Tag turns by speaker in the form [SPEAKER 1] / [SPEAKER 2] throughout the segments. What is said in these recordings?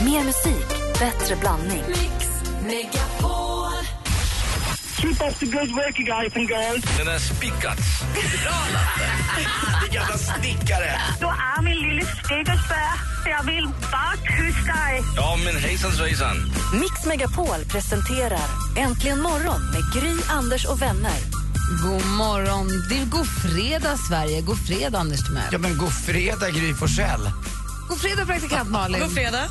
[SPEAKER 1] Mer musik, bättre blandning.
[SPEAKER 2] Mix Megapol.
[SPEAKER 3] Keep up the good work, you guys and girls.
[SPEAKER 4] Den är spickats. Din jävla snickare.
[SPEAKER 3] Du är min lille stegelsbär. Jag vill bara kyssa dig.
[SPEAKER 4] Ja, men hejsan svejsan.
[SPEAKER 1] Mix Megapol presenterar Äntligen morgon med Gry, Anders och vänner.
[SPEAKER 5] God morgon. Det är god fredag, Sverige. God fredag, Anders Timell.
[SPEAKER 6] Ja men god fredag Gry Forssell.
[SPEAKER 5] God fredag, praktikant Malin.
[SPEAKER 7] God fredag.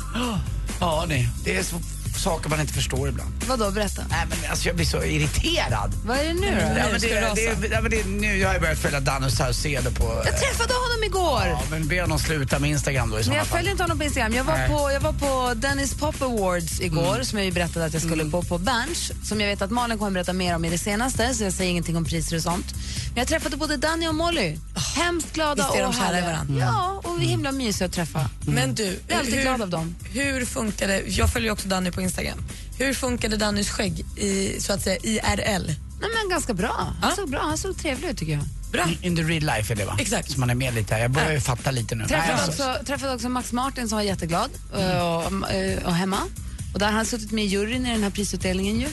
[SPEAKER 6] Ja ni, det är så, saker man inte förstår ibland.
[SPEAKER 5] Vadå, berätta.
[SPEAKER 6] Nej men alltså jag blir så irriterad.
[SPEAKER 5] Vad är det nu då?
[SPEAKER 6] Ja, men det, det, det, ja, men det, nu, jag har ju börjat följa Danny Saucedo på...
[SPEAKER 5] Jag träffade honom igår.
[SPEAKER 6] Ja, men be honom sluta med Instagram då i
[SPEAKER 5] Men
[SPEAKER 6] sådana
[SPEAKER 5] jag
[SPEAKER 6] fall.
[SPEAKER 5] följer inte honom på Instagram. Jag var
[SPEAKER 6] Nej.
[SPEAKER 5] på, jag var på Dennis Pop Awards igår
[SPEAKER 7] Mm.
[SPEAKER 5] som jag ju berättade att jag skulle på på Berns som jag vet att Malin kommer berätta mer om i det senaste så jag säger ingenting om priser och sånt. Men jag träffade både Danny och Molly. Hemskt glada
[SPEAKER 7] Visst är de
[SPEAKER 5] och
[SPEAKER 7] kära i
[SPEAKER 5] härliga.
[SPEAKER 7] varandra? Mm.
[SPEAKER 5] Ja, och himla mysiga att träffa.
[SPEAKER 7] Men du,
[SPEAKER 5] Jag är alltid glad av dem.
[SPEAKER 7] Hur funkade, jag följer ju också Danny på Instagram. Hur funkade Dannys skägg i, så att säga, IRL?
[SPEAKER 5] Nej, men ganska bra. Han
[SPEAKER 7] Ja.
[SPEAKER 5] såg bra, han såg trevlig ut tycker jag.
[SPEAKER 7] Bra.
[SPEAKER 6] In- In the real life är det va?
[SPEAKER 7] Exakt.
[SPEAKER 6] Så man är med lite här. Jag börjar ju fatta lite nu. Nej,
[SPEAKER 5] Träffade,
[SPEAKER 6] alltså.
[SPEAKER 5] också, träffade också Max Martin som var jätteglad och, eh, och hemma. Och där har han suttit med i juryn i den här prisutdelningen ju.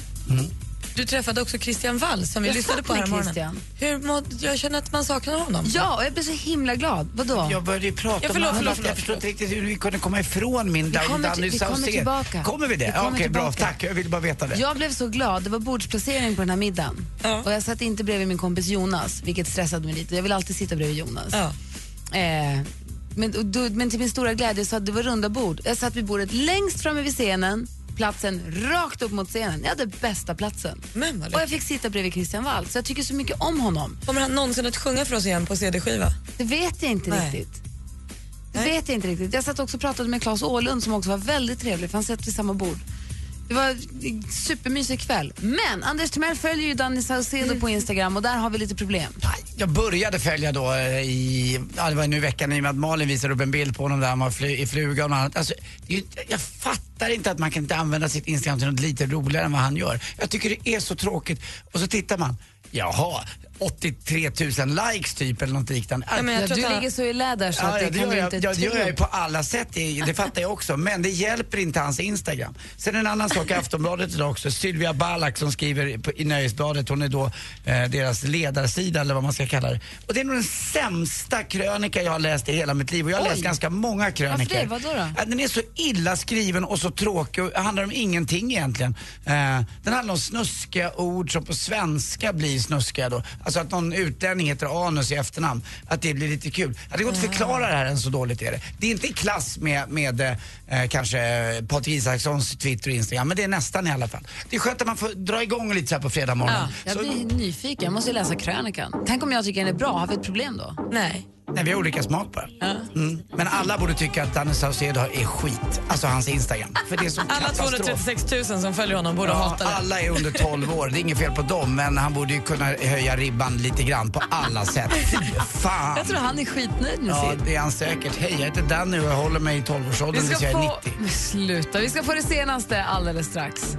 [SPEAKER 7] Du träffade också Christian Wall som vi
[SPEAKER 5] Jag
[SPEAKER 7] lyssnade på
[SPEAKER 5] saknar
[SPEAKER 7] här morgonen.
[SPEAKER 5] Christian.
[SPEAKER 7] Hur må, jag känner att man saknar honom.
[SPEAKER 5] Ja, och jag blev så himla glad. Vadå?
[SPEAKER 6] Jag började ju prata
[SPEAKER 7] Ja, förlåt,
[SPEAKER 6] om annat.
[SPEAKER 7] förlåt,
[SPEAKER 6] Jag
[SPEAKER 7] förlåt.
[SPEAKER 6] förstår inte riktigt hur vi kunde komma ifrån min Dan-
[SPEAKER 5] kommer till-
[SPEAKER 6] Danny
[SPEAKER 5] vi kommer
[SPEAKER 6] Saucedo.
[SPEAKER 5] tillbaka.
[SPEAKER 6] Kommer vi det?
[SPEAKER 5] Vi
[SPEAKER 6] Ja,
[SPEAKER 5] kommer
[SPEAKER 6] Okej, bra.
[SPEAKER 5] tillbaka.
[SPEAKER 6] Tack. Jag ville bara veta det.
[SPEAKER 5] Jag blev så glad. Det var bordsplacering på den här middagen.
[SPEAKER 7] Ja.
[SPEAKER 5] Och jag satt inte bredvid min kompis Jonas, vilket stressade mig lite. Jag vill alltid sitta bredvid Jonas.
[SPEAKER 7] Ja.
[SPEAKER 5] Eh, men, och då, men till min stora glädje så att det var runda bord. Jag satt vid bordet längst framme vid scenen, platsen rakt upp mot scenen. Jag hade bästa platsen.
[SPEAKER 7] Men
[SPEAKER 5] Och
[SPEAKER 7] vad
[SPEAKER 5] jag
[SPEAKER 7] lyckligt.
[SPEAKER 5] fick sitta bredvid Christian Wall, så jag tycker så mycket om honom.
[SPEAKER 7] Kommer han någonsin att sjunga för oss igen på CD-skiva?
[SPEAKER 5] Det vet jag inte
[SPEAKER 7] Nej.
[SPEAKER 5] riktigt. Det
[SPEAKER 7] Nej.
[SPEAKER 5] vet jag inte riktigt. Jag satt också och pratade med Claes Åhlund som också var väldigt trevlig, för han satt vid samma bord. Det var en supermysig kväll. Men Anders Timell följer ju Danny Saucedo på Instagram och där har vi lite problem.
[SPEAKER 6] Nej, Jag började följa då eh, i, ja, det var nu i veckan i och med att Malin visade upp en bild på honom där han var fly, i fluga och något annat. Alltså, det är ju inte- jag fattar inte att man kan inte använda sitt Instagram till något lite roligare än vad han gör. Jag tycker det är så tråkigt. Och så tittar man, jaha, 83 000 likes typ eller något liknande.
[SPEAKER 7] Ja, men jag
[SPEAKER 5] Ja,
[SPEAKER 7] tror
[SPEAKER 5] du
[SPEAKER 7] att han-
[SPEAKER 5] ligger så i lä där så
[SPEAKER 6] Ja,
[SPEAKER 5] att
[SPEAKER 6] ja,
[SPEAKER 5] det
[SPEAKER 6] det
[SPEAKER 5] kan
[SPEAKER 6] gör
[SPEAKER 5] du
[SPEAKER 6] jag,
[SPEAKER 5] inte
[SPEAKER 6] ja, det gör jag ju
[SPEAKER 5] tro.
[SPEAKER 6] på alla sätt, det, det fattar jag också. Men det hjälper inte hans Instagram. Sen en annan sak i Aftonbladet idag också. Sylvia Ballack som skriver på, i Nöjesbladet, hon är då eh, deras ledarsida eller vad man ska kalla det. Och det är nog den sämsta krönika jag har läst i hela mitt liv. Och jag har läst ganska många krönikor.
[SPEAKER 5] Varför det? Vadå då?
[SPEAKER 6] Ja, Äh, Den är så illa skriven och så tråkig och handlar om ingenting egentligen. Eh, den handlar om snuskiga ord som på svenska blir snuskiga då. Alltså att någon utlänning heter anus i efternamn. Att det blir lite kul. Ja, det går inte att förklara det här än så dåligt är det. Det är inte i klass med, med eh, kanske Patrik Isakssons Twitter och Instagram men det är nästan i alla fall. Det är skönt att man får dra igång lite så här på fredag morgon.
[SPEAKER 5] Jag
[SPEAKER 6] Så-
[SPEAKER 5] blir nyfiken, jag måste ju läsa krönikan. Tänk om jag tycker den är bra, har vi ett problem då?
[SPEAKER 7] Nej.
[SPEAKER 6] Nej, vi har olika smak bara. Mm. Men alla borde tycka att Danny Saucedo är skit. Alltså hans Instagram. För det är som
[SPEAKER 7] Alla
[SPEAKER 6] katastrof.
[SPEAKER 7] 236 000 som följer honom borde
[SPEAKER 6] Ja,
[SPEAKER 7] hata det.
[SPEAKER 6] alla är under 12 år, det är inget fel på dem men han borde ju kunna höja ribban lite grann på alla sätt. Fy Fan!
[SPEAKER 5] Jag tror han är skitnöjd med
[SPEAKER 6] Ja,
[SPEAKER 5] sitt.
[SPEAKER 6] det är han säkert. Hej, jag heter Danny och jag håller mig i 12-årsåldern
[SPEAKER 5] Vi
[SPEAKER 6] tills jag
[SPEAKER 5] ska
[SPEAKER 6] är
[SPEAKER 5] få...
[SPEAKER 6] 90.
[SPEAKER 5] Men Sluta, vi ska få det senaste alldeles strax.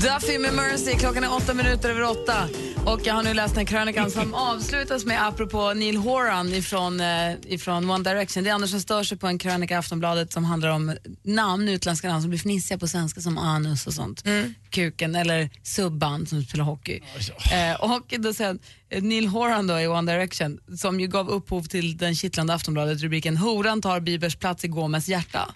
[SPEAKER 5] Duffy med Mercy, klockan är åtta minuter över åtta. Och jag har nu läst den krönikan som avslutas med, apropå Neil Horan ifrån, eh, ifrån One Direction. Det är Anders som stör sig på en krönika i Aftonbladet som handlar om namn, utländska namn som blir fnissiga på svenska som anus och sånt. Kuken eller subban som spelar hockey. Eh, och då sen, Neil Horan då i One Direction som ju gav upphov till den kittlande Aftonbladet-rubriken Horan tar Bibers plats i Gomes hjärta.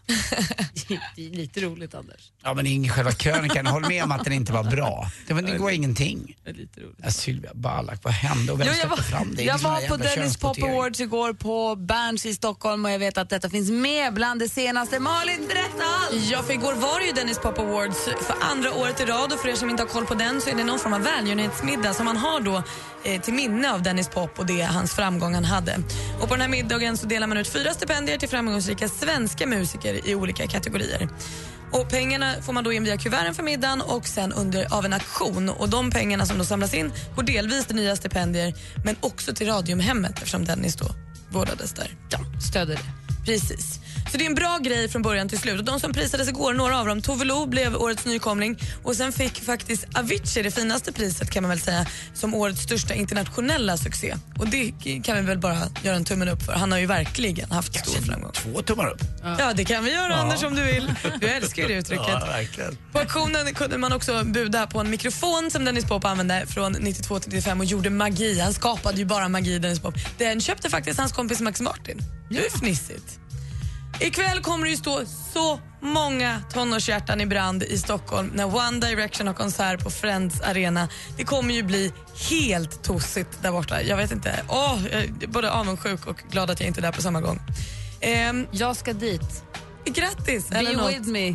[SPEAKER 5] det är lite roligt Anders.
[SPEAKER 6] Ja, men ingen själva krönikan. Håll med om att den inte var bra. Det, var, det går ingenting.
[SPEAKER 5] Det är lite roligt.
[SPEAKER 6] Ja, Sylvia Ballack, vad hände och vem
[SPEAKER 5] Jo, jag
[SPEAKER 6] släppte
[SPEAKER 5] var,
[SPEAKER 6] fram det?
[SPEAKER 5] jag
[SPEAKER 6] Det är
[SPEAKER 5] var
[SPEAKER 6] sån
[SPEAKER 5] på
[SPEAKER 6] jävla
[SPEAKER 5] Dennis Pop
[SPEAKER 6] könskvotering.
[SPEAKER 5] Awards igår på Berns i Stockholm och jag vet att detta finns med bland det senaste. Malin, berätta allt!
[SPEAKER 7] Ja, för igår var det ju Dennis Pop Awards för andra året i rad och för er som inte har koll på den så är det någon form av välgörenhetsmiddag som man har då eh, till minne av Dennis Pop och det hans framgång han hade. Och på den här middagen så delar man ut fyra stipendier till framgångsrika svenska musiker i olika kategorier. Och pengarna får man då in via kuverten för middagen och sen under, av en auktion. Och de pengarna som då samlas in går delvis till nya stipendier men också till Radiumhemmet eftersom Dennis då vårdades där.
[SPEAKER 5] Stöder det.
[SPEAKER 7] Precis. Så det är en bra grej från början till slut. Och de som prisades igår, några av dem, Tove Lo blev årets nykomling och sen fick faktiskt Avicii det finaste priset kan man väl säga som årets största internationella succé. Och det kan vi väl bara göra en tummen upp för. Han har ju verkligen haft stor framgång.
[SPEAKER 6] Två tummar upp.
[SPEAKER 7] Ja, det kan vi göra Anders om du vill. Du älskar ju det uttrycket.
[SPEAKER 6] Ja, verkligen.
[SPEAKER 7] På auktionen kunde man också buda på en mikrofon som Dennis Pop använde från 92 till 95 och gjorde magi. Han skapade ju bara magi, Dennis Pop. Den köpte faktiskt hans kompis Max Martin. Det är ju fnissigt. Ikväll kommer det ju stå så många tonårshjärtan i brand i Stockholm när One Direction har konsert på Friends Arena. Det kommer ju bli helt tossigt där borta. Jag vet inte. Åh, jag är både avundsjuk och glad att jag inte är där på samma gång. Ehm,
[SPEAKER 5] Jag ska dit.
[SPEAKER 7] grattis!
[SPEAKER 5] Be
[SPEAKER 7] eller något.
[SPEAKER 5] with me.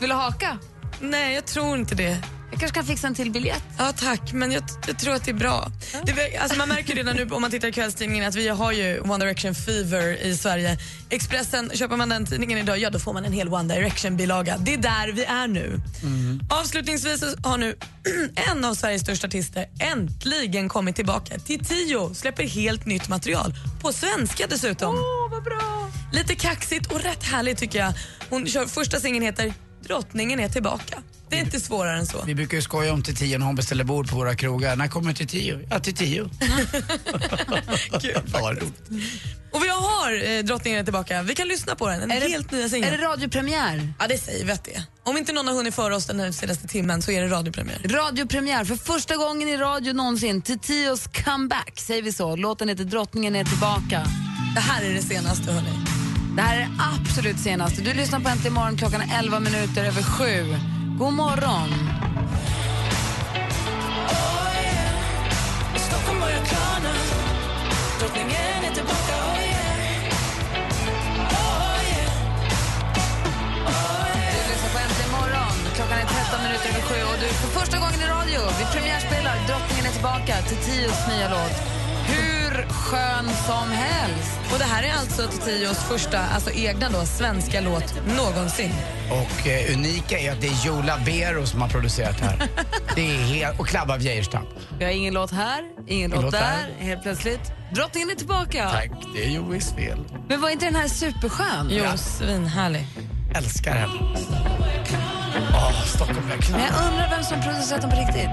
[SPEAKER 5] Vill du haka?
[SPEAKER 7] Nej, jag tror inte det.
[SPEAKER 5] Jag kanske kan fixa en till biljett.
[SPEAKER 7] Ja, tack, men jag, jag tror att det är bra. Det, ver- alltså man märker redan nu om man tittar i kvällstidningen att vi har ju One Direction Fever i Sverige. Expressen, köper man den tidningen idag, ja då får man en hel One Direction-bilaga. Det är där vi är nu. Avslutningsvis så har nu en av Sveriges största artister äntligen kommit tillbaka till Tio, släpper helt nytt material. På svenska dessutom. Lite kaxigt och rätt härligt tycker jag. Hon kör, första singeln heter Drottningen är tillbaka. Det är inte svårare än så.
[SPEAKER 6] Vi brukar ju skoja om till tio när hon beställer bord på våra krogar. När kommer du till tio? Ja, till tio.
[SPEAKER 7] Kul,
[SPEAKER 6] Vad roligt.
[SPEAKER 7] Och vi har eh, Drottningen är tillbaka. Vi kan lyssna på den. En
[SPEAKER 5] Är det-
[SPEAKER 7] helt nya
[SPEAKER 5] Är
[SPEAKER 7] singel.
[SPEAKER 5] det radiopremiär?
[SPEAKER 7] Ja, det säger vi att det är. Om inte någon har hunnit före oss den här senaste timmen så är det radiopremiär.
[SPEAKER 5] Radiopremiär för första gången i radio någonsin. Titios comeback, säger vi så. Låten heter Drottningen är tillbaka.
[SPEAKER 7] Det här är det senaste, hörni.
[SPEAKER 5] Det här är det absolut senaste. Du lyssnar på Äntligen morgon klockan är 11 minuter över sju. God morgon. Du lyssnar på Äntligen morgon. Klockan är 13 minuter över sju och du för första gången i radio. Vi premiärspelar Drottningen är tillbaka till Tios nya låt. Hur skön som helst.
[SPEAKER 7] Och det här är alltså Tios första, alltså egna då, svenska låt någonsin.
[SPEAKER 6] Och eh, unika är att det är Jola Bero som har producerat det här. Det är helt... Och Klabba Wierstam.
[SPEAKER 5] Vi har ingen låt här, ingen låt
[SPEAKER 6] låt
[SPEAKER 5] där.
[SPEAKER 6] där.
[SPEAKER 5] Helt plötsligt, drottningen är tillbaka.
[SPEAKER 6] Tack, det är Joeys fel.
[SPEAKER 5] Men var inte den här superskön?
[SPEAKER 7] Jo,
[SPEAKER 6] Ja.
[SPEAKER 7] svinhärlig.
[SPEAKER 6] Älskar henne. Åh, Stockholm börjar
[SPEAKER 5] Men
[SPEAKER 6] knarra.
[SPEAKER 5] jag undrar vem som producerat den på riktigt.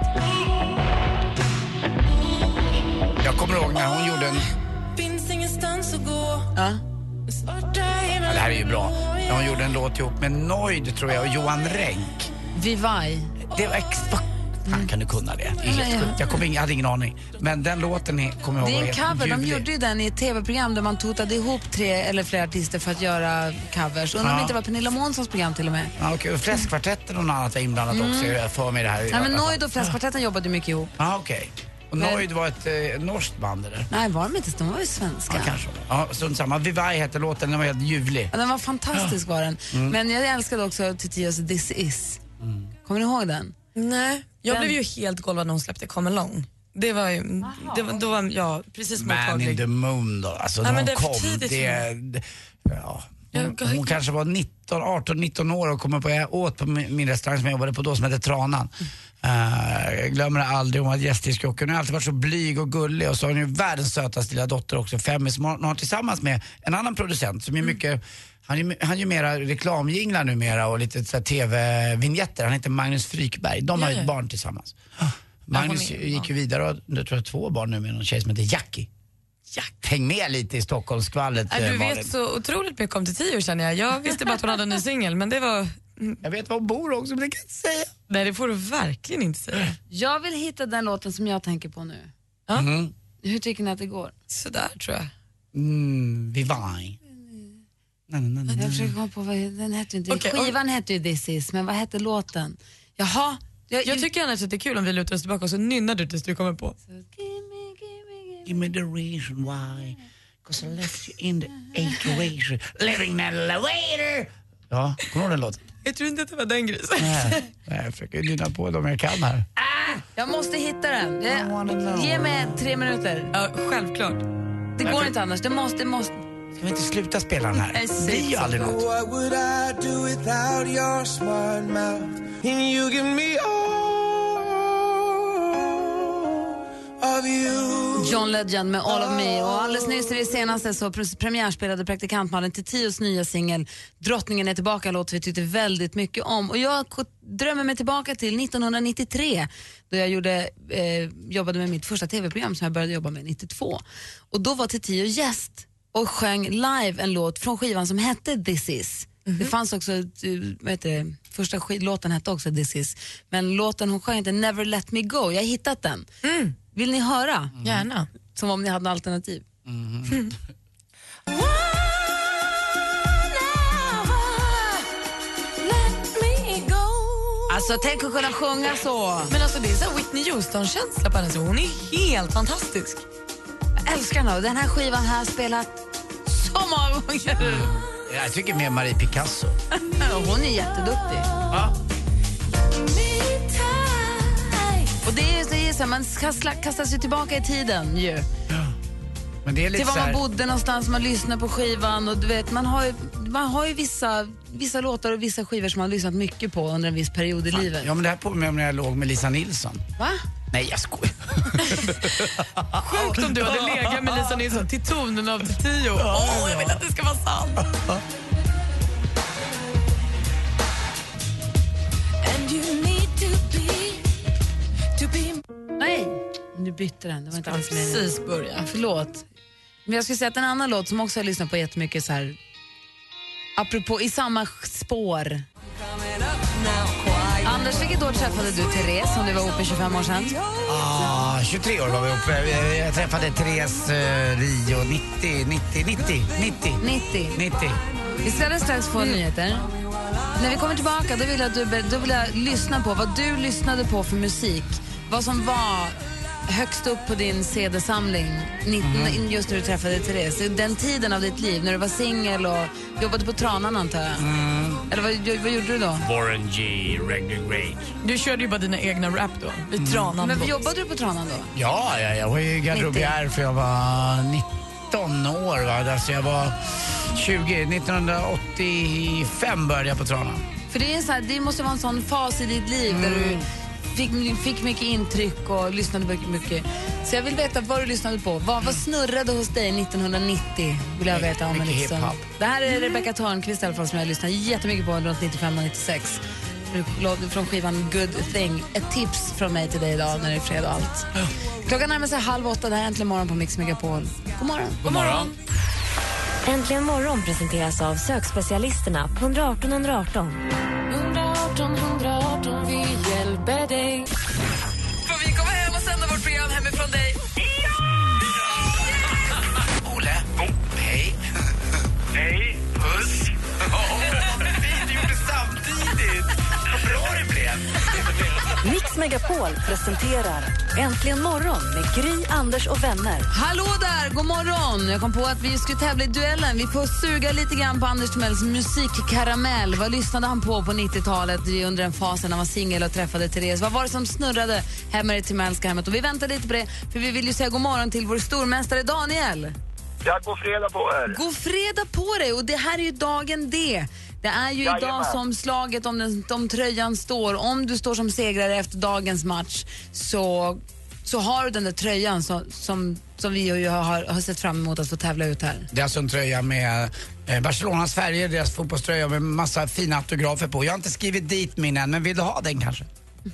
[SPEAKER 6] Jag kommer ihåg när hon gjorde en...
[SPEAKER 2] Finns ingenstans att gå.
[SPEAKER 5] Ja.
[SPEAKER 6] Ja, det här är ju bra. När hon gjorde en låt ihop med Noid, tror jag, och Johan Renck.
[SPEAKER 5] Vivaj.
[SPEAKER 6] Det var ex... vad Fan, kan du kunna det? Det är
[SPEAKER 5] Mm. Ja,
[SPEAKER 6] helt
[SPEAKER 5] ja.
[SPEAKER 6] sjukt. Jag kom in, jag hade ingen aning. Men den låten är- kommer jag
[SPEAKER 5] Det
[SPEAKER 6] ihåg
[SPEAKER 5] är en
[SPEAKER 6] var helt
[SPEAKER 5] cover. De
[SPEAKER 6] ljuvlig.
[SPEAKER 5] gjorde ju den i ett tv-program där man totade ihop tre eller flera artister för att göra covers. Undrar om
[SPEAKER 6] Ja.
[SPEAKER 5] det inte var Pernilla Månssons program till och med.
[SPEAKER 6] Ja, okej. Och Fläskkvartetten och något annat var inblandat också. Jag för mig det här. Alltså-
[SPEAKER 5] Nej, Mm. men Noid och Fläskkvartetten jobbade mycket ihop.
[SPEAKER 6] Ja, okej. Och
[SPEAKER 5] Men-
[SPEAKER 6] Noid var ett eh, norskt band, eller?
[SPEAKER 5] Nej, var de inte? De var ju svenska.
[SPEAKER 6] Ja, kanske. Ja, strunt samma. Vivai hette låten, den var helt ljuvlig.
[SPEAKER 5] Ja, den var fantastisk var den. Men jag älskade också Titios This is. Kommer ni ihåg den?
[SPEAKER 7] Nej. Jag
[SPEAKER 5] Den-
[SPEAKER 7] blev ju helt golvad när hon släppte Come Along. Det var ju, det var, då var jag precis
[SPEAKER 6] Man in
[SPEAKER 7] mottaglig.
[SPEAKER 6] the moon då, alltså
[SPEAKER 7] Ja,
[SPEAKER 6] när
[SPEAKER 7] men
[SPEAKER 6] hon
[SPEAKER 7] det är för
[SPEAKER 6] kom. Det,
[SPEAKER 7] tidigt för
[SPEAKER 6] det, ja.
[SPEAKER 7] Jag-
[SPEAKER 6] Hon, hon kanske var 19, 18, 19 år och kom upp och jag åt på min, min restaurang som jag jobbade på då som hette Tranan. Eh, jag glömmer det aldrig, hon var gästdiskjockey. Hon har alltid varit så blyg och gullig och så har hon ju världens sötaste lilla dotter också, Femmy, som hon har tillsammans med en annan producent som är
[SPEAKER 7] Mm.
[SPEAKER 6] mycket han är, ju- han är ju mera reklamjinglar numera och lite så här tv-vinjetter. Han heter Magnus Frykberg. De har ju
[SPEAKER 7] Ja,
[SPEAKER 6] ett
[SPEAKER 7] ja.
[SPEAKER 6] barn tillsammans. Magnus
[SPEAKER 7] är-
[SPEAKER 6] gick ju vidare och har, tror jag, två barn nu med någon tjej som heter Jackie. Häng med lite i Stockholmsskvallret
[SPEAKER 7] Nej, Du
[SPEAKER 6] eh, Malin.
[SPEAKER 7] vet så otroligt mycket om till tio känner jag. Jag visste bara att hon hade en ny singel men det var...
[SPEAKER 6] Jag vet var hon bor också men det kan jag inte säga.
[SPEAKER 7] Nej det får du verkligen inte säga.
[SPEAKER 5] Jag vill hitta den låten som jag tänker på nu.
[SPEAKER 7] Ja.
[SPEAKER 5] Hur tycker ni att det går?
[SPEAKER 7] Sådär tror jag.
[SPEAKER 6] Mm, Vivai. Nej, nej, nej, nej.
[SPEAKER 5] Jag försöker komma på vad den hette ju inte.
[SPEAKER 7] Okej, om-
[SPEAKER 5] Skivan hette ju This is, men vad hette låten? Jaha. Jag,
[SPEAKER 7] Jag tycker annars att det är kul om vi lutar oss tillbaka och så nynnar du tills du kommer på.
[SPEAKER 5] Gimme, gimme, gimme.
[SPEAKER 6] Give me the reason why. Cause I left you in the equation. Living in an elevator. Ja, kommer du ihåg den låten?
[SPEAKER 7] Jag tror inte att det var den grisen.
[SPEAKER 6] Nej, nej, jag försöker lyssna på dem jag kan här.
[SPEAKER 5] Jag måste hitta den. Jag, ge mig tre minuter.
[SPEAKER 7] Ja, självklart.
[SPEAKER 5] Det går inte annars. Det måste, det måste.
[SPEAKER 6] Ska vi inte sluta spela den här?
[SPEAKER 5] Nej,
[SPEAKER 6] Det blir ju aldrig något.
[SPEAKER 8] What would I do without your smart mouth? And you give me all of you.
[SPEAKER 5] John Legend med All of Me. Och alldeles nyss i det senaste så pres- premiärspelade praktikantmannen till Tios nya singel Drottningen är tillbaka, en låt vi tyckte väldigt mycket om. Och jag ko- drömmer mig tillbaka till 1993 då jag gjorde, eh, jobbade med mitt första tv-program som jag började jobba med 92. Och då var Tio gäst och sjöng live en låt från skivan som hette This is. Det fanns också, eh, vad heter det, första sk- låten hette också This is. Men låten hon sjöng hette Never let me go, jag har hittat den. Vill ni höra?
[SPEAKER 7] Mm. Gärna.
[SPEAKER 5] Som om ni hade alternativ. Alltså tänk att kunna sjunga så.
[SPEAKER 7] Men alltså det är så här Whitney Houston-känsla på henne. så Hon är helt fantastisk.
[SPEAKER 5] Jag älskar den här. Och Den här skivan har jag spelat så många gånger.
[SPEAKER 6] Jag tycker mer Marie Picasso.
[SPEAKER 5] Och Hon är jätteduktig. Och det är, det är så här, man ska sla- kastas ju tillbaka i tiden ju.
[SPEAKER 6] Men det är lite
[SPEAKER 5] Till var
[SPEAKER 6] så
[SPEAKER 5] man
[SPEAKER 6] här,
[SPEAKER 5] bodde någonstans, man lyssnar på skivan och du vet, man har ju, man har ju vissa, vissa låtar och vissa skivor som man har lyssnat mycket på under en viss period i livet.
[SPEAKER 6] Ja men det här påminner mig om när jag låg med Lisa Nilsson.
[SPEAKER 5] Va?
[SPEAKER 6] Nej jag skojar.
[SPEAKER 7] Sjukt om du hade legat med Lisa Nilsson till tonen av till tio. Åh, jag vill att det ska vara sant.
[SPEAKER 5] Nej, nu bytte den. Det var inte alls meningen.
[SPEAKER 7] Precis börja.
[SPEAKER 5] Förlåt. Men jag skulle säga att en annan låt som också jag har lyssnat på jättemycket så här apropå i samma spår. Anders, vilket år träffade du Therese som du var ihop med 25 år sedan?
[SPEAKER 6] Ah, 23 år var vi uppe. Eh, Jag träffade Therese eh, Rio 90, 90, 90, 90,
[SPEAKER 5] 90.
[SPEAKER 6] 90.
[SPEAKER 5] Vi ska alldeles strax få nyheter. När vi kommer tillbaka då vill, jag att du, ber- då vill jag lyssna på vad du lyssnade på för musik. Vad som var högst upp på din CD-samling nitt- just när du träffade Therese. Den tiden av ditt liv när du var singel och jobbade på Tranan antar jag. Eller vad, vad gjorde du då?
[SPEAKER 9] Warren G, Regner Great.
[SPEAKER 7] Du körde ju bara dina egna rap då. I tranan.
[SPEAKER 5] Men
[SPEAKER 7] bort.
[SPEAKER 5] jobbade du på Tranan då?
[SPEAKER 6] Ja, ja, jag var ju garderobiär för jag var 19 år. Va? Alltså jag var 20, 1985 började jag på Tranan.
[SPEAKER 5] För det, är så här, det måste vara en sån fas i ditt liv där
[SPEAKER 6] Mm.
[SPEAKER 5] du fick, fick mycket intryck och lyssnade mycket, mycket. Så jag vill veta vad du lyssnade på. Vad, vad snurrade hos dig 1990? Vill jag veta om en
[SPEAKER 6] Mycket
[SPEAKER 5] liksom.
[SPEAKER 6] hiphop. Mm.
[SPEAKER 5] Det här är Rebecca Törnqvist i alla fall som jag lyssnar jättemycket på under 95 och 96. Låt- Från skivan Good thing. Ett tips från mig till dig idag när det är fredag och allt. Klockan närmar sig halv åtta. Det här är Äntligen morgon på Mix Megapol. God morgon.
[SPEAKER 6] God morgon.
[SPEAKER 1] Äntligen morgon presenteras av sökspecialisterna på 118 118.
[SPEAKER 5] Får vi komma hem och sända vårt program hemifrån dig?
[SPEAKER 4] Ole. Oh, hej. Hej. Puss. Oh, vad fint, du gjorde det samtidigt. Vad bra det blev.
[SPEAKER 1] Mix Megapol presenterar Äntligen morgon med Gry, Anders och vänner.
[SPEAKER 5] Hallå där, god morgon! Jag kom på att vi skulle tävla i duellen. Vi får suga lite grann på Anders Timells musikkaramell. Vad lyssnade han på på 90-talet Det är under den fasen när han var singel och träffade Therese? Vad var det som snurrade hemma i det Timellska hemmet? Och vi väntar lite på det, för vi vill ju säga god morgon till vår stormästare Daniel.
[SPEAKER 10] Jag går fredag på er.
[SPEAKER 5] God fredag på dig! Och det här är ju dagen D. Det är ju idag
[SPEAKER 10] Jajamän.
[SPEAKER 5] som slaget om, den, om tröjan står. Om du står som segrare efter dagens match så, så har du den där tröjan som, som, som vi ju har, har sett fram emot att få tävla ut här.
[SPEAKER 6] Det är alltså en tröja med eh, Barcelonas färger, deras fotbollströja med massa fina autografer på. Jag har inte skrivit dit min än, men vill du ha den kanske?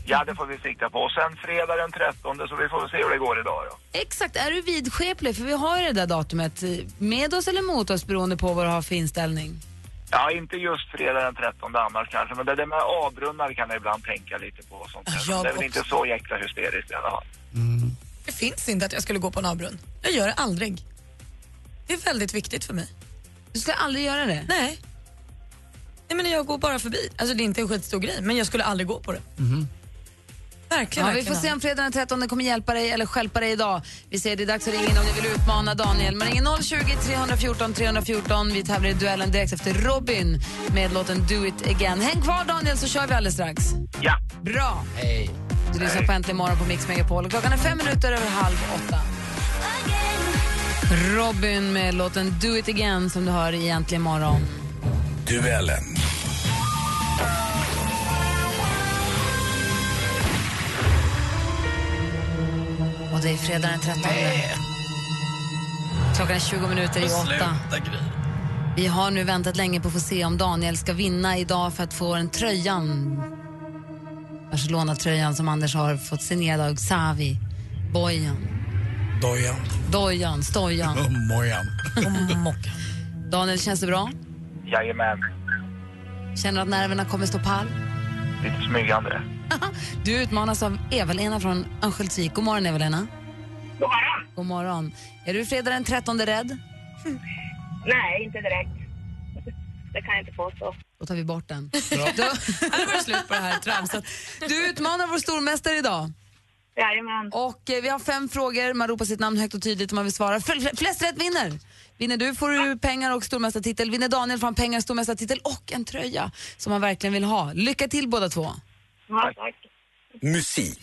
[SPEAKER 10] Ja, det får vi sikta på. Och sen fredag den 13 så vi får se hur det går idag då.
[SPEAKER 5] Exakt, är du vidskeplig? För vi har ju det där datumet eh, med oss eller mot oss beroende på vad du har för inställning.
[SPEAKER 10] Ja, inte just fredag den 13 annars kanske, men det där med avbrunnar kan jag ibland tänka lite på. och Sånt där.
[SPEAKER 7] Jag
[SPEAKER 10] det är väl
[SPEAKER 7] också.
[SPEAKER 10] inte så jäkla hysteriskt i alla fall.
[SPEAKER 7] Det finns inte att jag skulle gå på en avbrunn. Jag gör det aldrig. Det är väldigt viktigt för mig.
[SPEAKER 5] Du skulle aldrig göra det.
[SPEAKER 7] Nej. Nej men jag går bara förbi. Alltså det är inte en skitstor grej, men jag skulle aldrig gå på det. Verkligen,
[SPEAKER 5] Ja, vi
[SPEAKER 7] verkligen
[SPEAKER 5] får se
[SPEAKER 7] aldrig.
[SPEAKER 5] om fredagen den 13 kommer hjälpa dig eller stjälpa dig idag. Vi säger det är dags att ringa in om ni vill utmana Daniel. Man ringer 020 314 314. Vi tävlar i duellen direkt efter Robin med låten Do It Again. Häng kvar Daniel så kör vi alldeles strax.
[SPEAKER 10] Ja,
[SPEAKER 5] Bra!
[SPEAKER 6] Hej.
[SPEAKER 5] Du lyssnar på Äntligen morgon på Mix Megapol och klockan är fem minuter över halv åtta. Robin med låten Do It Again som du hör i Äntligen morgon.
[SPEAKER 4] Duellen.
[SPEAKER 5] Och det är fredag den 13. Klockan är 20 minuter i åtta.
[SPEAKER 4] Sluta Gry.
[SPEAKER 5] Vi har nu väntat länge på att få se om Daniel ska vinna idag för att få en tröjan. Barcelona-tröjan som Anders har fått signerad av Xavi. Bojan,
[SPEAKER 6] Dojan.
[SPEAKER 5] Dojan, Stojan
[SPEAKER 6] Och Mojan.
[SPEAKER 5] och Mockan. Daniel, känns det bra?
[SPEAKER 10] Jajamän,
[SPEAKER 5] Känner du att nerverna kommer stå pall?
[SPEAKER 10] lite smygande.
[SPEAKER 5] Du utmanas av Eva-Lena från Örnsköldsvik. God morgon, Eva-Lena. God morgon. Är du fredag den 13 rädd?
[SPEAKER 3] Nej, inte direkt. Det kan jag inte påstå.
[SPEAKER 5] Då tar vi bort den.
[SPEAKER 7] Då hade varit slut på det här tramset.
[SPEAKER 5] Du utmanar vår stormästare idag.
[SPEAKER 3] Jajamän.
[SPEAKER 5] Och eh, vi har fem frågor. Man ropar sitt namn högt och tydligt om man vill svara. Fl- Flest rätt vinner. Vinner du får du pengar och stormästartitel. Vinner Daniel får han pengar, stormästartitel och en tröja som han verkligen vill ha. Lycka till båda två.
[SPEAKER 3] Ja, tack.
[SPEAKER 11] Musik.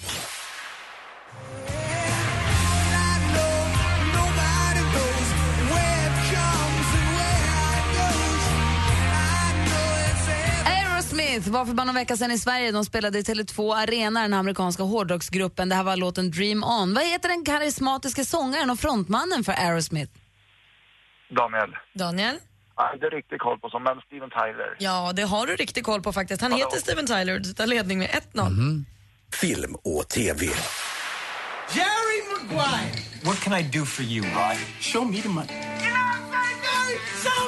[SPEAKER 5] Aerosmith var för bara någon vecka sedan i Sverige. De spelade i Tele2 Arena, den amerikanska hårdrocksgruppen. Det här var låten Dream On. Vad heter den karismatiska sångaren och frontmannen för Aerosmith?
[SPEAKER 10] Daniel,
[SPEAKER 7] Daniel?
[SPEAKER 10] jag har inte riktigt koll på som men Steven Tyler.
[SPEAKER 7] Ja, det har du riktig koll på faktiskt. Han heter Steven Tyler och du tar ledning med 1-0.
[SPEAKER 11] Film och TV.
[SPEAKER 8] Jerry Maguire.
[SPEAKER 9] What can I do for you, Rod?
[SPEAKER 8] Show me the money. Show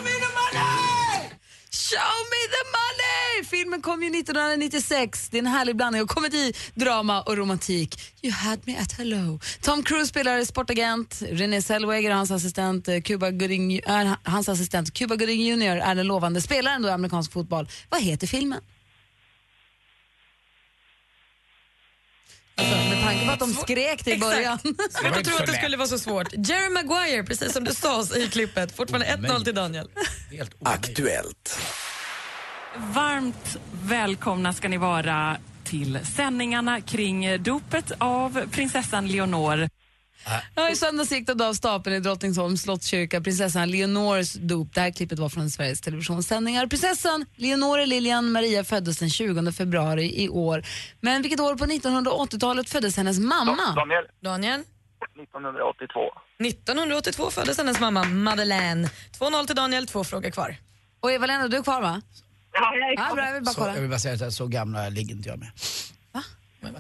[SPEAKER 8] me the money!
[SPEAKER 5] Show me the money! Filmen kom ju 1996. Det är en härlig blandning av komedi, drama och romantik. You had me at hello. Tom Cruise spelar sportagent. René Zellweger och hans assistent eh, Cuba Gooding, är, hans assistent Cuba Gooding Jr är den lovande spelaren då i amerikansk fotboll. Vad heter filmen? Alltså, med tanke på att de skrek det i början.
[SPEAKER 7] Svårt att tro att det skulle vara så svårt. Jerry Maguire, precis som det sades i klippet. Fortfarande 1-0 till Daniel.
[SPEAKER 6] Helt omöjligt.
[SPEAKER 11] Aktuellt.
[SPEAKER 2] Varmt välkomna ska ni vara till sändningarna kring dopet av prinsessan Leonor.
[SPEAKER 5] Ja, I söndags gick det då av stapeln i Drottningholms slottskyrka prinsessan Leonors dop. Det här klippet var från Sveriges Televisionssändningar. Prinsessan Leonore Lilian Maria föddes den 20 februari i år. Men vilket år på 1980-talet föddes hennes mamma?
[SPEAKER 10] Daniel,
[SPEAKER 7] Daniel?
[SPEAKER 10] 1982.
[SPEAKER 7] 1982 föddes hennes mamma Madeleine. 2-0 till Daniel, två frågor kvar.
[SPEAKER 5] Och Eva-Lena, du är kvar va?
[SPEAKER 3] Ja, jag är
[SPEAKER 5] Ja, bra, jag vill bara
[SPEAKER 6] Så,
[SPEAKER 5] kolla.
[SPEAKER 6] jag vill bara säga att jag är så gamla ligger inte jag med.
[SPEAKER 7] Gris.
[SPEAKER 5] Men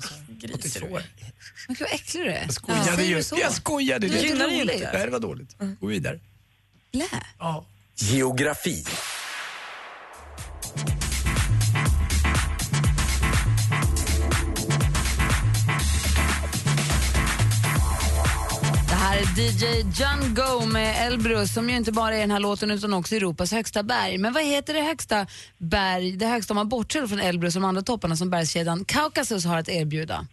[SPEAKER 5] gud vad äcklig du är.
[SPEAKER 6] Jag skojade
[SPEAKER 5] Ja. Säger
[SPEAKER 6] ju.
[SPEAKER 5] du så?
[SPEAKER 6] Jag skojade.
[SPEAKER 5] Du gillar
[SPEAKER 6] var
[SPEAKER 5] det
[SPEAKER 6] roligt.
[SPEAKER 5] inte.
[SPEAKER 6] Nej, det var dåligt.
[SPEAKER 5] Mm.
[SPEAKER 6] Gå vidare.
[SPEAKER 5] Blä.
[SPEAKER 6] Ja.
[SPEAKER 11] Geografi.
[SPEAKER 5] Det här är DJ Django med Elbrus som ju inte bara är den här låten utan också Europas högsta berg. Men vad heter det högsta berg, det högsta om man bortser från Elbrus och de andra topparna som bergskedjan Kaukasus har att erbjuda?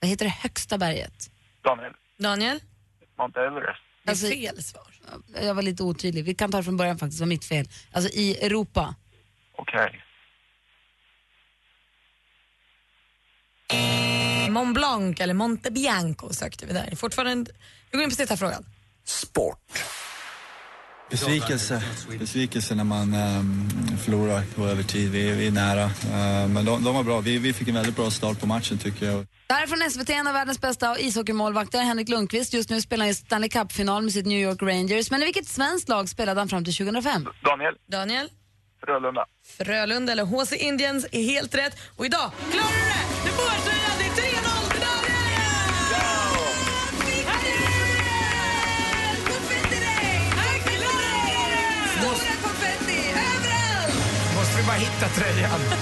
[SPEAKER 5] Vad heter det högsta berget?
[SPEAKER 10] Daniel,
[SPEAKER 7] Daniel?
[SPEAKER 10] Mount Everest.
[SPEAKER 7] Det är
[SPEAKER 5] Alltså-
[SPEAKER 7] fel svar.
[SPEAKER 5] Jag var lite otydlig. Vi kan ta det från början faktiskt, det var mitt fel. Alltså i Europa.
[SPEAKER 10] Okej.
[SPEAKER 7] Mont Blanc eller Monte Bianco sökte vi där. Fortfarande... Vi går in på sista frågan.
[SPEAKER 11] Sport.
[SPEAKER 9] Besvikelse. Besvikelse när man ehm, förlorar på övertid. Vi, vi är nära. Eh, men de, de var bra. Vi, vi fick en väldigt bra start på matchen tycker jag.
[SPEAKER 5] Det här är från SVT, en av världens bästa ishockeymålvakter, Henrik Lundqvist. Just nu spelar han i Stanley Cup-final med sitt New York Rangers. Men i vilket svenskt lag spelade han fram till 2005?
[SPEAKER 10] Daniel,
[SPEAKER 7] Daniel?
[SPEAKER 10] Frölunda.
[SPEAKER 7] Frölunda eller HC Indians är helt rätt. Och idag klarar du det! Du får tröjan, det är 3-0 till Daniel!
[SPEAKER 6] Måste vi bara hitta tröjan?
[SPEAKER 5] Han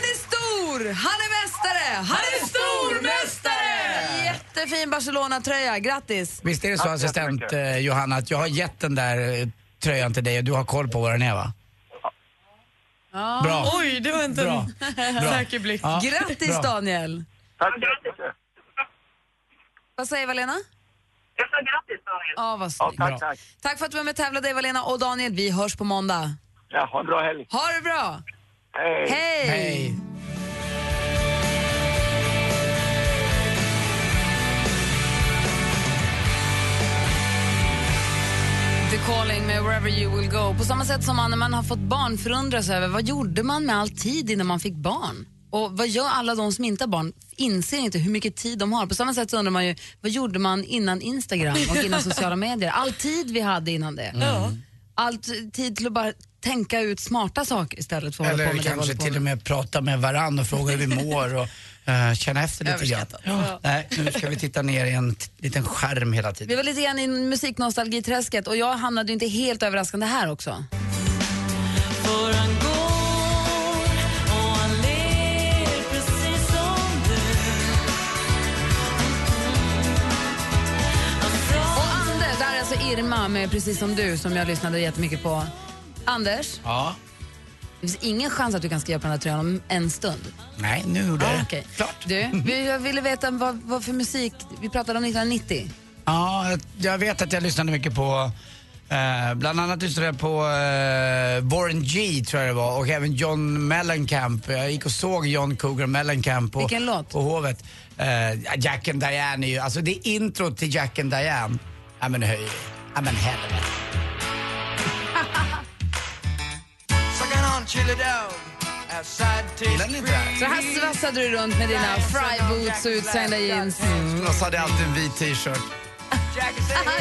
[SPEAKER 5] är stor! Han är mästare! Han är stormästare! Jättefin Barcelona-tröja, grattis!
[SPEAKER 6] Visst är det så assistent eh, Johanna att jag har gett den där eh, tröjan till dig och du har koll på var den är va? Bra.
[SPEAKER 7] Oj, det var inte
[SPEAKER 6] Bra.
[SPEAKER 7] en
[SPEAKER 6] Bra.
[SPEAKER 7] säker blick.
[SPEAKER 6] Ja,
[SPEAKER 5] Grattis
[SPEAKER 6] bra.
[SPEAKER 5] Daniel!
[SPEAKER 10] Tack så jättemycket.
[SPEAKER 5] Vad säger Eva-Lena?
[SPEAKER 3] Jag sa grattis, Daniel.
[SPEAKER 5] Ja, vad
[SPEAKER 10] Ja,
[SPEAKER 5] snyggt.
[SPEAKER 10] tack, tack.
[SPEAKER 5] Tack för att du var med och tävlade Eva-Lena och Daniel. Vi hörs på måndag.
[SPEAKER 10] Ja, ha en bra helg.
[SPEAKER 5] Ha det bra!
[SPEAKER 10] Hej.
[SPEAKER 5] Hej!
[SPEAKER 6] Hej.
[SPEAKER 5] The Calling med Wherever You Will Go. På samma sätt som man när man har fått barn förundras över vad gjorde man med all tid innan man fick barn? Och vad gör alla de som inte har barn? Inser inte hur mycket tid de har. På samma sätt så undrar man ju, vad gjorde man innan Instagram och innan sociala medier? All tid vi hade innan det.
[SPEAKER 6] Ja.
[SPEAKER 5] All t- tid till att bara tänka ut smarta saker istället för att hålla på
[SPEAKER 6] Eller
[SPEAKER 5] med det. vi håller
[SPEAKER 6] kanske
[SPEAKER 5] på
[SPEAKER 6] till och med prata med varann och fråga hur vi mår och eh, känna efter lite grann.
[SPEAKER 5] Överskattat.
[SPEAKER 6] Ja. Nej, nu ska vi titta ner i en t- liten skärm hela tiden.
[SPEAKER 5] Vi var lite grann i musiknostalgiträsket och jag hamnade ju inte helt överraskande här också.
[SPEAKER 4] För han går och han ler precis som du
[SPEAKER 5] Och Anders, det här är alltså Irma med Precis som du som jag lyssnade jättemycket på. Anders,
[SPEAKER 6] Ja.
[SPEAKER 5] det finns ingen chans att du kan skriva på den här tröjan om en stund.
[SPEAKER 6] Nej, nu gjorde jag
[SPEAKER 5] Ah,
[SPEAKER 6] det.
[SPEAKER 5] okej. Du, vi, jag ville veta vad, vad för musik, vi pratade om 1990.
[SPEAKER 6] Ja, jag- jag vet att jag lyssnade mycket på eh, bland annat lyssnade jag på eh, Warren G tror jag det var och även John Mellencamp. Jag gick och såg John Cougar Mellencamp på,
[SPEAKER 5] Vilken låt?
[SPEAKER 6] på Hovet. Eh, Jack and Diane är ju, alltså det är intro till Jack and Diane. Ja men höj, ja men helvete.
[SPEAKER 4] Sucking on chili down outside tastes
[SPEAKER 5] Så
[SPEAKER 6] Mm.
[SPEAKER 5] här svassade du runt med dina fryboots och utsvängda jeans.
[SPEAKER 6] Lasse hade alltid en vit t-shirt.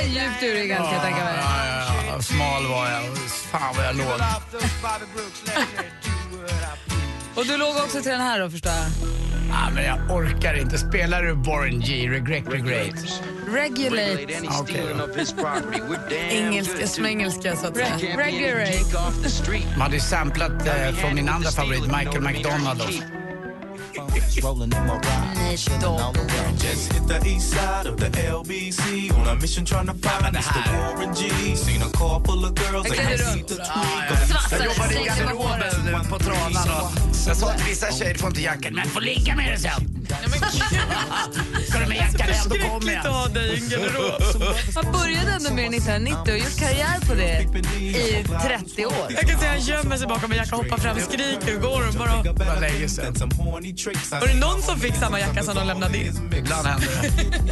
[SPEAKER 5] Djupt urringad kan jag tänka mig.
[SPEAKER 6] Ja, ja, ja. Smal var jag. Fan vad jag låg.
[SPEAKER 5] Och du låg också till den här då förstår jag.
[SPEAKER 6] Ja, Ah, men jag orkar inte. Spelar du Warren G? Regret, Ah, regret.
[SPEAKER 5] Regulate. Engelska, som engelska så att säga. Regulate.
[SPEAKER 6] Man hade ju samplat eh, från min andra favorit, Michael McDonald. också.
[SPEAKER 12] Rolling in my ride, chilling all around. Just hit the east side of the LBC on a mission trying to find Mr. Warren G. Seen a car full of girls, they can't see the
[SPEAKER 6] Ah, Jag jobbade i garderoben på Tranan och jag sa till vissa tjejer, du får inte jackan, men får ligga med dig sen. Ska du med jackan hem, då kommer jag.
[SPEAKER 5] Han började ändå med 1990 och gjort karriär på det i 30 år.
[SPEAKER 7] Jag kan säga han gömmer sig bakom en jacka, hoppar fram, skriker och går och bara...
[SPEAKER 6] Vad länge sen.
[SPEAKER 7] Var det någon som fick samma jacka som de lämnade in?
[SPEAKER 6] Ibland händer det.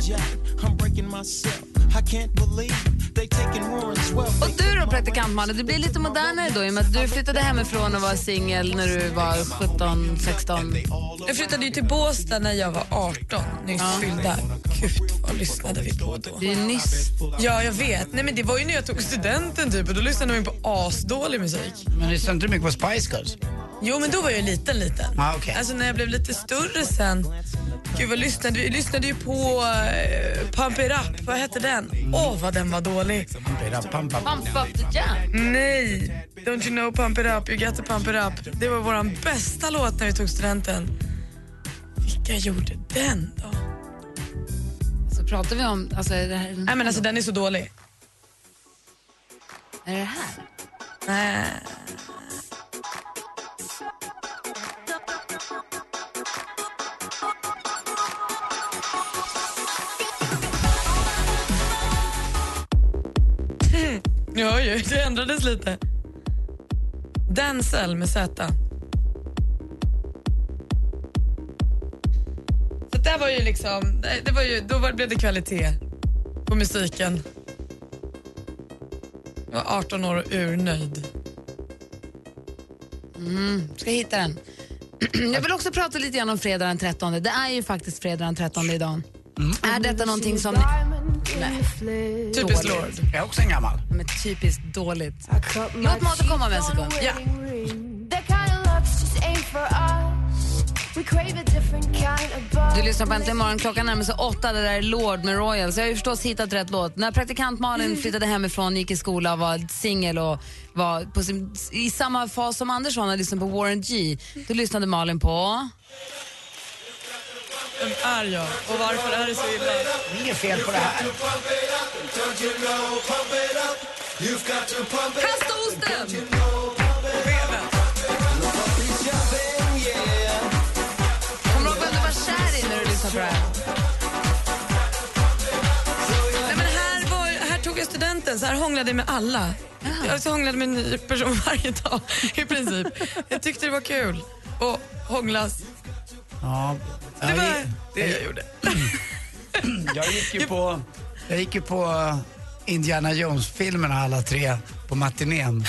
[SPEAKER 12] I'm breaking myself. I can't believe they taking Warren's wealth.
[SPEAKER 5] Och du då praktikant Malin, du blir lite modernare då i och med att du flyttade hemifrån och var singel när du var 17, 16.
[SPEAKER 7] Jag flyttade ju till Båstad när jag var 18, nyss fyllda. Gud, vad lyssnade vi på då?
[SPEAKER 5] Det är nyss.
[SPEAKER 7] Ja, jag vet. Nej, men det var ju när jag tog studenten typ och då lyssnade man ju på asdålig musik.
[SPEAKER 6] Men lyssnar inte du mycket på Spice Girls?
[SPEAKER 7] Jo, men då var jag ju liten, liten.
[SPEAKER 6] Ah, okej.
[SPEAKER 7] Alltså när jag blev lite större sen. Gud, vad lyssnade vi? lyssnade ju på eh, Pump It Up. Vad hette den? Åh, vad den var dålig.
[SPEAKER 6] Pam, pam, pam.
[SPEAKER 5] Pump up the jam.
[SPEAKER 7] Nej! Don't you know pump it up, you got to pump it up. Det var vår bästa låt när vi tog studenten. Vilka gjorde den då?
[SPEAKER 5] Så pratar vi om, alltså är det här...
[SPEAKER 7] Nej men alltså den är så dålig.
[SPEAKER 5] Är det här?
[SPEAKER 7] Nej. Mm. Jag hör ju, det ändrades lite. Denzel med Z. Så där var ju liksom, det- det var ju, då var, blev det kvalitet på musiken. Jag var 18 år och urnöjd.
[SPEAKER 5] Mm, ska hitta den. Jag vill också prata lite grann om fredag den 13. Det är ju faktiskt fredag den 13 idag. Är detta någonting som... Nej.
[SPEAKER 6] Typiskt
[SPEAKER 5] Dåligt.
[SPEAKER 6] Jag är också en gammal.
[SPEAKER 5] Men typiskt dåligt. Låt mig återkomma om en sekund. Ja. Du lyssnar på Äntligen morgon. Klockan närmar sig åtta. Det där är Lord med Royal. Så jag har ju förstås hittat rätt låt. När praktikant Malin flyttade hemifrån, gick i skola, var singel och var på sin, i samma fas som Andersson och lyssnade på Warren G. Då lyssnade Malin på...
[SPEAKER 7] Vem är jag och varför är det så illa?
[SPEAKER 6] Det är inget fel på det här.
[SPEAKER 5] Kasta osten! Kommer du ihåg vem du var kär i när du lyssnade på det här?
[SPEAKER 7] Nej, men här, var, här tog jag studenten, så här hånglade jag med alla. Jag så hånglade med en ny person varje dag i princip. Jag tyckte det var kul att hånglas.
[SPEAKER 6] Ja.
[SPEAKER 7] Det var
[SPEAKER 6] jag,
[SPEAKER 7] det jag gjorde.
[SPEAKER 6] jag gick ju på, jag gick ju på eh, Indiana Jones-filmerna alla tre på matinén.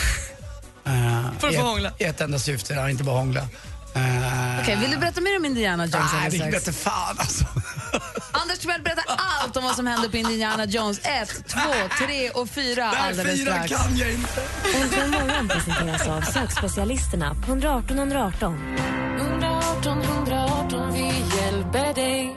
[SPEAKER 6] Eh,
[SPEAKER 7] För att få
[SPEAKER 6] i ett-
[SPEAKER 7] hångla.
[SPEAKER 6] I ett enda syfte, ja, inte bara hångla. Eh,
[SPEAKER 5] vill du berätta mer om Indiana Jones
[SPEAKER 6] Nej,
[SPEAKER 5] alldeles
[SPEAKER 6] det
[SPEAKER 5] strax?
[SPEAKER 6] vete fan alltså.
[SPEAKER 5] Anders Timell berättar allt om vad som hände på Indiana Jones 1, 2, 3 och 4 alldeles strax.
[SPEAKER 6] jag inte.
[SPEAKER 1] Äntligen morgon presenteras av sökspecialisterna på 118 118.
[SPEAKER 13] 118 118, vi hjälper dig.